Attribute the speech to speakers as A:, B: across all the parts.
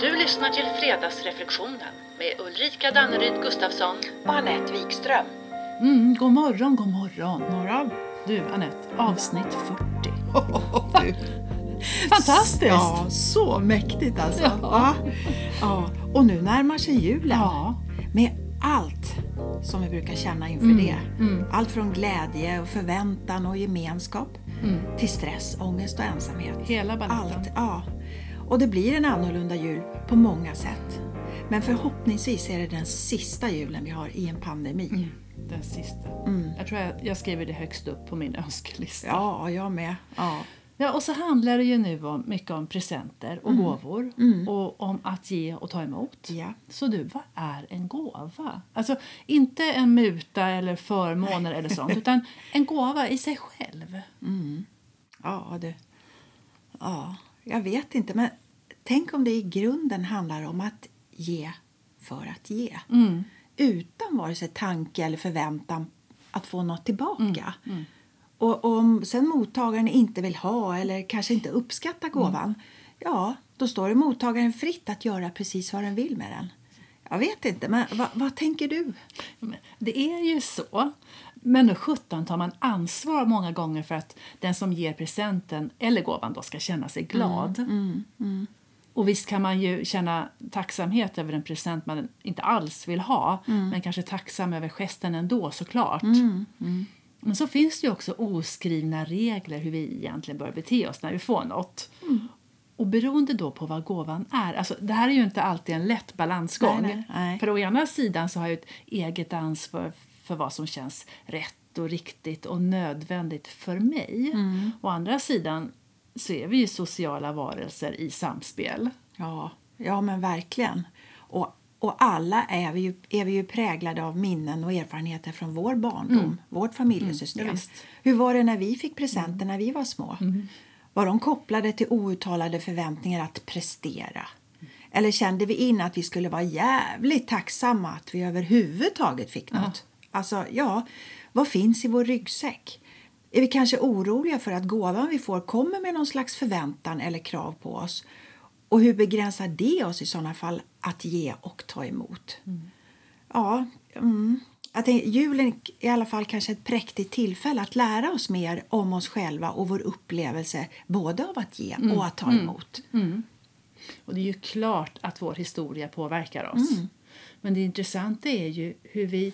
A: Du lyssnar till Fredagsreflektionen med Ulrika Danneryd Gustafsson.
B: och Anette Wikström.
C: Mm, god morgon, god morgon. morgon. Du Anette, avsnitt 40. Fantastiskt!
D: Ja, så mäktigt alltså.
C: Ja.
D: Ja. Ja. Och nu närmar sig julen
C: Ja.
D: med allt som vi brukar känna inför
C: Mm.
D: det. Allt från glädje och förväntan och gemenskap till stress, ångest och ensamhet.
C: Mm. Hela baletten.
D: Allt, ja. Och det blir en annorlunda jul på många sätt. Men förhoppningsvis är det den sista julen vi har i en pandemi.
C: Mm. Den sista.
D: Mm.
C: Jag tror jag, jag skriver det högst upp på min önskelista.
D: Ja, jag med. Ja.
C: Ja, och så handlar det ju nu om, mycket om presenter och gåvor och om att ge och ta emot.
D: Mm. Ja.
C: Så du, vad är en gåva? Alltså inte en muta eller förmåner eller sånt utan en gåva i sig själv.
D: Ja, du. Ja, jag vet inte. Men tänk om det i grunden handlar om att ge för att ge. Utan vare sig tanke eller förväntan att få något tillbaka. Och om sen mottagaren inte vill ha eller kanske inte uppskattar gåvan ja, då står det mottagaren fritt att göra precis vad den vill med den. Jag vet inte, men vad, vad tänker du?
C: Men Det är ju så. Men nu sjutton tar man ansvar många gånger för att den som ger presenten eller gåvan då ska känna sig glad. Och visst kan man ju känna tacksamhet över en present man inte alls vill ha men kanske tacksam över gesten ändå såklart. Men så finns det ju också oskrivna regler hur vi egentligen bör bete oss när vi får något.
D: Mm.
C: Och beroende då på vad gåvan är, alltså det här är ju inte alltid en lätt balansgång.
D: Nej, nej, nej.
C: För å ena sidan så har jag ett eget ansvar för vad som känns rätt och riktigt och nödvändigt för mig.
D: Mm.
C: Å andra sidan så är vi ju sociala varelser i samspel.
D: Ja, ja men verkligen. Och, och alla är vi, ju, är vi ju präglade av minnen och erfarenheter från vår barndom, vårt familjesystem.
C: Mm, visst.
D: Hur var det när vi fick presenter när vi var små? Var de kopplade till outtalade förväntningar att prestera? Eller kände vi in att vi skulle vara jävligt tacksamma att vi överhuvudtaget fick något? Alltså, ja, vad finns i vår ryggsäck? Är vi kanske oroliga för att gåvan vi får kommer med någon slags förväntan eller krav på oss? Och hur begränsar det oss i sådana fall att ge och ta emot? Ja, mm. jag tänker, julen är i alla fall kanske ett präktigt tillfälle att lära oss mer om oss själva och vår upplevelse både av att ge och att ta emot.
C: Och det är ju klart att vår historia påverkar oss. Men det intressanta är ju hur, vi,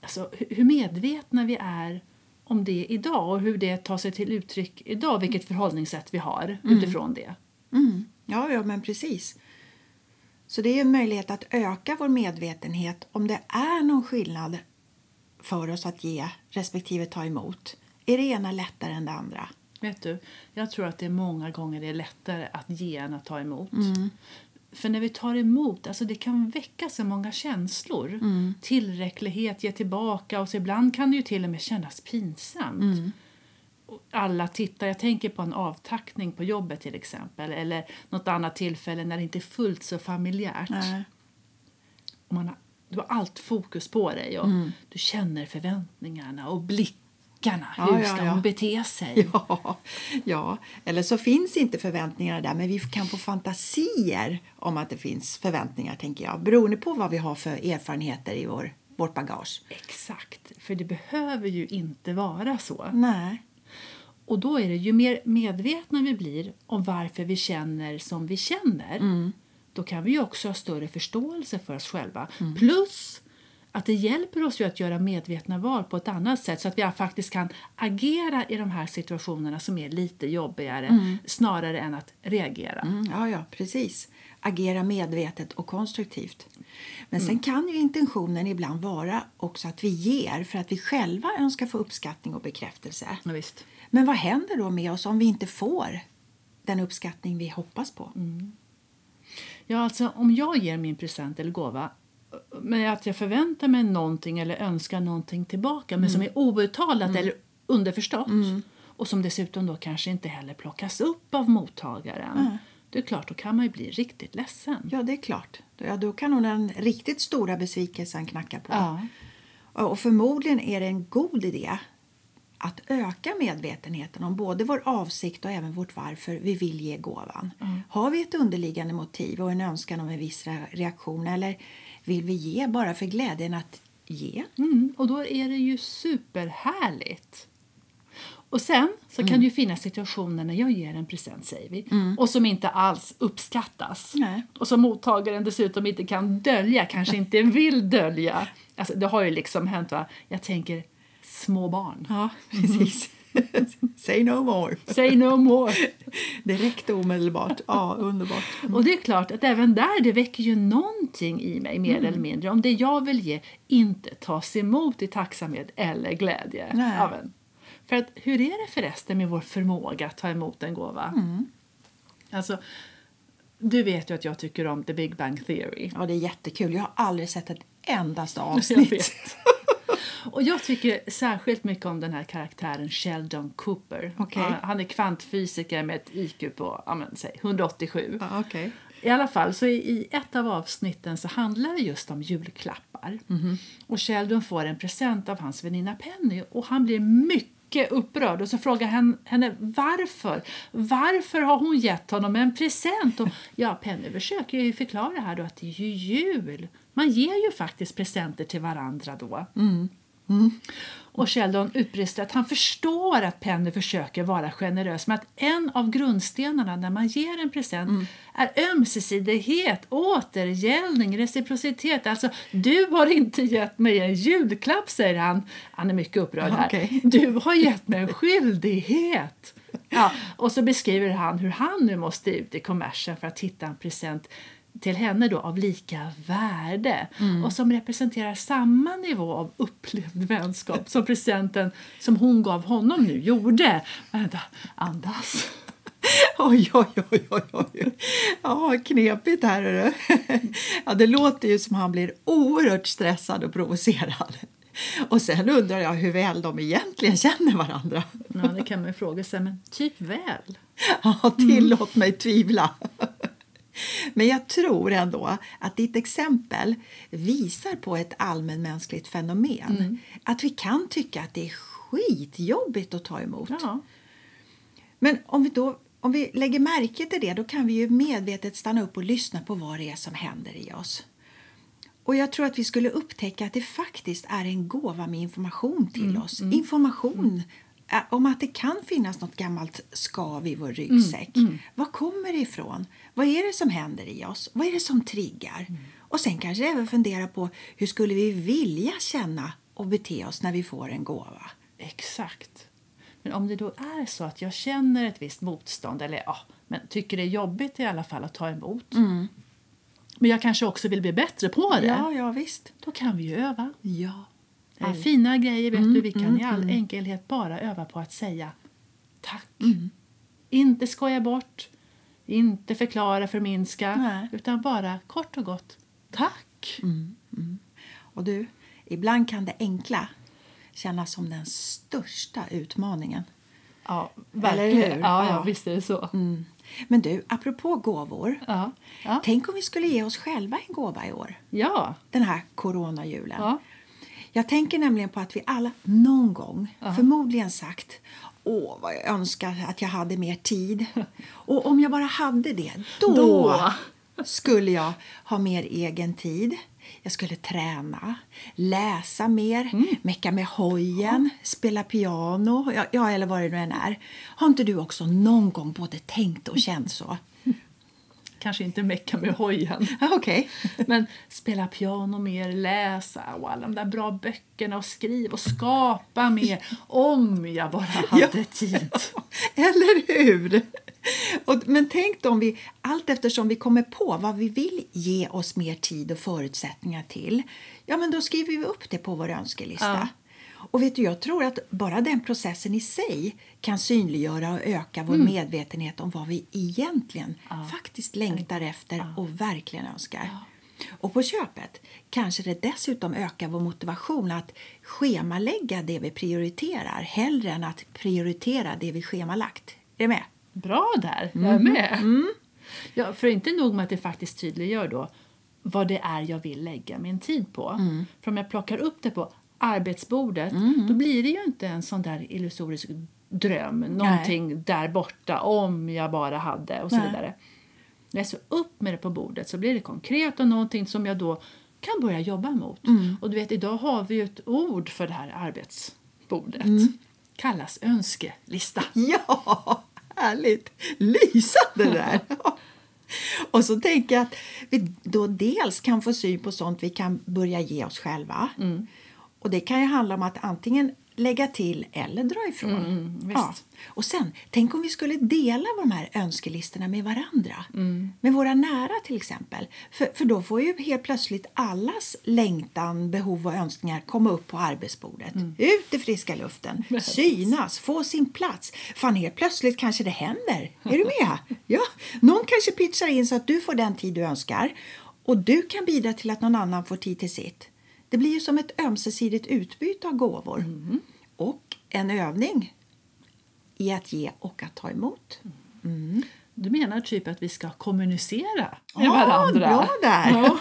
C: alltså, hu- hur medvetna vi är om det idag och hur det tar sig till uttryck idag, vilket förhållningssätt vi har utifrån det.
D: Mm. Ja, ja, men precis. Så det är ju en möjlighet att öka vår medvetenhet om det är någon skillnad för oss att ge respektive ta emot. Är det ena lättare än det andra?
C: Vet du, jag tror att det är många gånger det är lättare att ge än att ta emot.
D: Mm.
C: För när vi tar emot, alltså det kan väcka så många känslor.
D: Mm.
C: Tillräcklighet, ge tillbaka och så ibland kan det ju till och med kännas pinsamt.
D: Mm.
C: Och Alla tittar, jag tänker på en avtackning på jobbet till exempel eller något annat tillfälle när det inte är fullt så familjärt. Och man har, du har allt fokus på dig och
D: Mm.
C: du känner förväntningarna och blickarna.
D: Ja,
C: Hur
D: ja,
C: ska
D: ja.
C: hon bete sig?
D: Ja, ja, eller så finns inte förväntningarna där men vi kan få fantasier om att det finns förväntningar tänker jag beroende på vad vi har för erfarenheter i vår, vårt bagage.
C: Exakt, för det behöver ju inte vara så.
D: Nej.
C: Och då är det ju mer medvetna vi blir om varför vi känner som vi känner, då kan vi ju också ha större förståelse för oss själva. Plus att det hjälper oss ju att göra medvetna val på ett annat sätt så att vi faktiskt kan agera i de här situationerna som är lite jobbigare snarare än att reagera.
D: Mm, ja, ja, precis. Agera medvetet och konstruktivt. Men sen kan ju intentionen ibland vara också att vi ger för att vi själva önskar få uppskattning och bekräftelse.
C: Ja, visst.
D: Men vad händer då med oss om vi inte får den uppskattning vi hoppas på?
C: Ja, alltså om jag ger min present eller gåva men att jag förväntar mig någonting eller önskar någonting tillbaka men som är outtalat eller underförstått och som dessutom då kanske inte heller plockas upp av mottagaren. Det är klart, då kan man ju bli riktigt ledsen.
D: Ja, det är klart. Ja, då kan nog den riktigt stora besvikelsen knacka på.
C: Ja.
D: Och och förmodligen är det en god idé att öka medvetenheten om både vår avsikt och även vårt varför vi vill ge gåvan. Har vi ett underliggande motiv och en önskan om en viss re- reaktion eller vill vi ge bara för glädjen att ge?
C: Mm, och då är det ju superhärligt. Och sen så
D: Mm.
C: kan det ju finnas situationer när jag ger en present, säger vi, och som inte alls uppskattas.
D: Nej.
C: Och som mottagaren dessutom inte kan dölja, kanske inte vill dölja. Alltså, det har ju liksom hänt, va? Jag tänker små barn.
D: Ja, precis. Say no more.
C: Say no more.
D: Direkt och omedelbart. Ja, underbart.
C: Och det är klart att även där, det väcker ju någonting i mig mer eller mindre om det jag vill ge inte tas emot i tacksamhet eller glädje
D: Nej.
C: av en. För att hur är det förresten med vår förmåga att ta emot en gåva? Mm. Alltså, du vet ju att jag tycker om The Big Bang Theory.
D: Ja, det är jättekul. Jag har aldrig sett ett endaste
C: Jag
D: avsnitt.
C: vet. Och jag tycker särskilt mycket om den här karaktären Sheldon Cooper.
D: Okej.
C: Han, han är kvantfysiker med ett IQ på ja, men, säg, 187.
D: Ja, okej.
C: I alla fall, så i, i ett av avsnitten så handlar det just om julklappar. Och Sheldon får en present av hans väninna Penny och han blir mycket upprörd och så frågar han henne varför. Varför har hon gett honom en present? Och, ja, Penny försöker ju förklara här då att det är ju jul. Man ger ju faktiskt presenter till varandra då. Och Sheldon utbrister att han förstår att Penny försöker vara generös men att en av grundstenarna när man ger en present är ömsesidighet, återgäldning, reciprocitet. Alltså, du har inte gett mig en julklapp, säger han. Han är mycket upprörd här.
D: Okej.
C: Du har gett mig en skyldighet. Ja, och så beskriver han hur han nu måste ut i kommersen för att hitta en present till henne då av lika värde och som representerar samma nivå av upplevd vänskap som presenten som hon gav honom nu gjorde. Vänta, andas.
D: Oj, oj, oj, oj, oj. Ja, knepigt här. Är det. Ja, det låter ju som han blir oerhört stressad och provocerad. Och sen undrar jag hur väl de egentligen känner varandra.
C: Ja, det kan man ju fråga sig, men typ väl.
D: Ja, tillåt mig tvivla. Men jag tror ändå att ditt exempel visar på ett allmänmänskligt fenomen. Att vi kan tycka att det är skitjobbigt att ta emot.
C: Ja.
D: Men om vi, då, om vi lägger märke till det då kan vi ju medvetet stanna upp och lyssna på vad det är som händer i oss. Och jag tror att vi skulle upptäcka att det faktiskt är en gåva med information till oss. Information eh, om att det kan finnas något gammalt skav i vår ryggsäck. Vad kommer det ifrån? Vad är det som händer i oss? Vad är det som triggar? Och sen kanske även fundera på hur skulle vi vilja känna och bete oss när vi får en gåva?
C: Exakt. Men om det då är så att jag känner ett visst motstånd eller ja, men tycker det är jobbigt i alla fall att ta emot. Men jag kanske också vill bli bättre på det.
D: Mm. Ja, ja visst.
C: Då kan vi ju öva.
D: Ja.
C: Det är fina grejer, vet
D: Mm,
C: du. Vi kan i all enkelhet bara öva på att säga tack.
D: Mm.
C: Inte skoja bort, inte förklara, förminska,
D: Nej. Mm.
C: utan bara kort och gott tack.
D: Och du, ibland kan det enkla kännas som den största utmaningen.
C: Ja,
D: Eller
C: verkligen.
D: hur?
C: Ja,
D: Ja.
C: ja, visst är det så.
D: Mm. Men du, apropå gåvor.
C: Ja. Ja.
D: Tänk om vi skulle ge oss själva en gåva i år,
C: Ja.
D: den här coronajulen.
C: Ja.
D: Jag tänker nämligen på att vi alla någon gång förmodligen sagt Åh, vad jag önskar att jag hade mer tid. Och om jag bara hade det, då,
C: Då.
D: skulle jag ha mer egen tid. Jag skulle träna, läsa mer, mecka med hojen, spela piano, ja, ja, eller vad det nu än är. Har inte du också någon gång både tänkt och känt så?
C: Kanske inte mecka med hojen.
D: Ja, Okej.
C: Men spela piano mer, läsa och alla de där bra böckerna och skriva och skapa mer. Om jag bara hade
D: Ja.
C: tid.
D: Eller hur? Och, men tänk då om vi allt eftersom vi kommer på vad vi vill ge oss mer tid och förutsättningar till, ja men då skriver vi upp det på vår önskelista. Och vet du, jag tror att bara den processen i sig kan synliggöra och öka vår medvetenhet om vad vi egentligen faktiskt längtar efter och verkligen önskar. Och på köpet kanske det dessutom ökar vår motivation att schemalägga det vi prioriterar hellre än att prioritera det vi schemalagt. Är du med?
C: Bra där, jag är med. Ja, för inte nog med att det faktiskt tydliggör då vad det är jag vill lägga min tid på. För om jag plockar upp det på arbetsbordet då blir det ju inte en sån där illusorisk dröm, någonting där borta om jag bara hade och så
D: Nej.
C: vidare. Nej, så upp med det på bordet så blir det konkret och någonting som jag då kan börja jobba mot. Och du vet, idag har vi ju ett ord för det här arbetsbordet. kallas önskelista.
D: Ja, härligt! Lysande där! Och så tänker jag att vi då dels kan få syn på sånt vi kan börja ge oss själva. Och det kan ju handla om att antingen lägga till eller dra ifrån.
C: visst.
D: ja. Och sen, tänk om vi skulle dela de här önskelistorna med varandra. Med våra nära till exempel. För, för då får ju helt plötsligt allas längtan, behov och önskningar komma upp på arbetsbordet. Ut i friska luften, synas, få sin plats. Fan, helt plötsligt kanske det händer. Är du med? Ja. Någon kanske pitchar in så att du får den tid du önskar. Och du kan bidra till att någon annan får tid till sitt. Det blir ju som ett ömsesidigt utbyte av gåvor. Och en övning i att ge och att ta emot.
C: Du menar typ att vi ska kommunicera med
D: Ja,
C: varandra?
D: Ah, bra där.
C: Ja.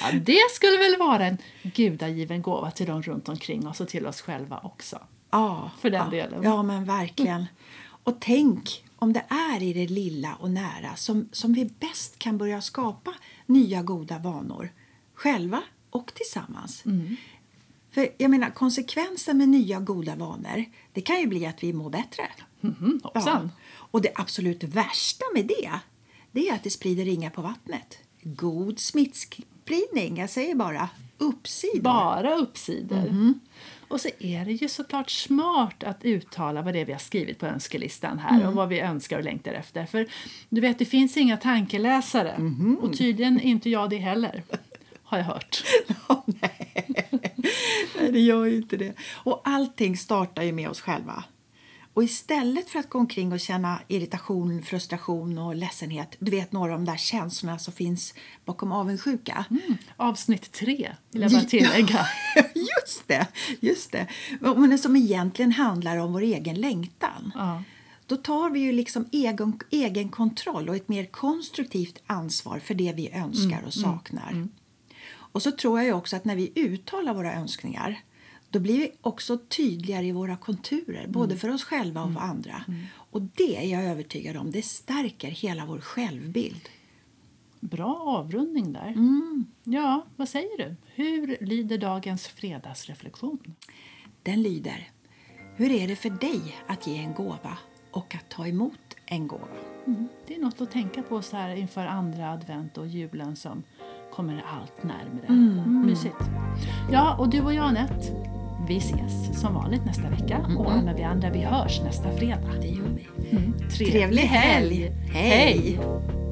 C: Ja, det skulle väl vara en gudagiven gåva till de runt omkring oss och till oss själva också.
D: Ja,
C: För den
D: ja.
C: delen.
D: Ja, men verkligen. Och tänk om det är i det lilla och nära som, som vi bäst kan börja skapa nya goda vanor. Själva och tillsammans.
C: Mm.
D: För jag menar, konsekvensen med nya goda vanor det kan ju bli att vi mår bättre.
C: Mm, hoppsan!
D: Och det absolut värsta med det, det är att det sprider ringar på vattnet. God smittspridning, jag säger bara uppsidor.
C: Bara uppsidor. Och så är det ju såklart smart att uttala vad det är vi har skrivit på önskelistan här och vad vi önskar och längtar efter. För du vet, det finns inga tankeläsare och tydligen inte jag det heller, har jag hört.
D: Ja, nej. nej, det gör ju inte det. Och allting startar ju med oss själva. Och istället för att gå omkring och känna irritation, frustration och ledsenhet, du vet några av de där känslorna som finns bakom avundsjuka.
C: Avsnitt tre, vill jag bara tillägga.
D: just det, just det. Men som egentligen handlar om vår egen längtan.
C: Ja.
D: Då tar vi ju liksom egen, egen kontroll och ett mer konstruktivt ansvar för det vi önskar och saknar. Och så tror jag ju också att när vi uttalar våra önskningar då blir vi också tydligare i våra konturer, både för oss själva och för andra. Och det är jag övertygad om, det stärker hela vår självbild.
C: Bra avrundning där. Ja, vad säger du? Hur lyder dagens fredagsreflektion?
D: Den lyder Hur är det för dig att ge en gåva och att ta emot en gåva?
C: Det är något att tänka på så här inför andra advent och julen som kommer allt närmare. Mysigt. Ja, och du och jag Anette, vi ses som vanligt nästa vecka och alla vi andra vi hörs nästa fredag.
D: Det gör vi.
C: Trevlig,
D: Trevlig helg!
C: Hej.
D: Hej.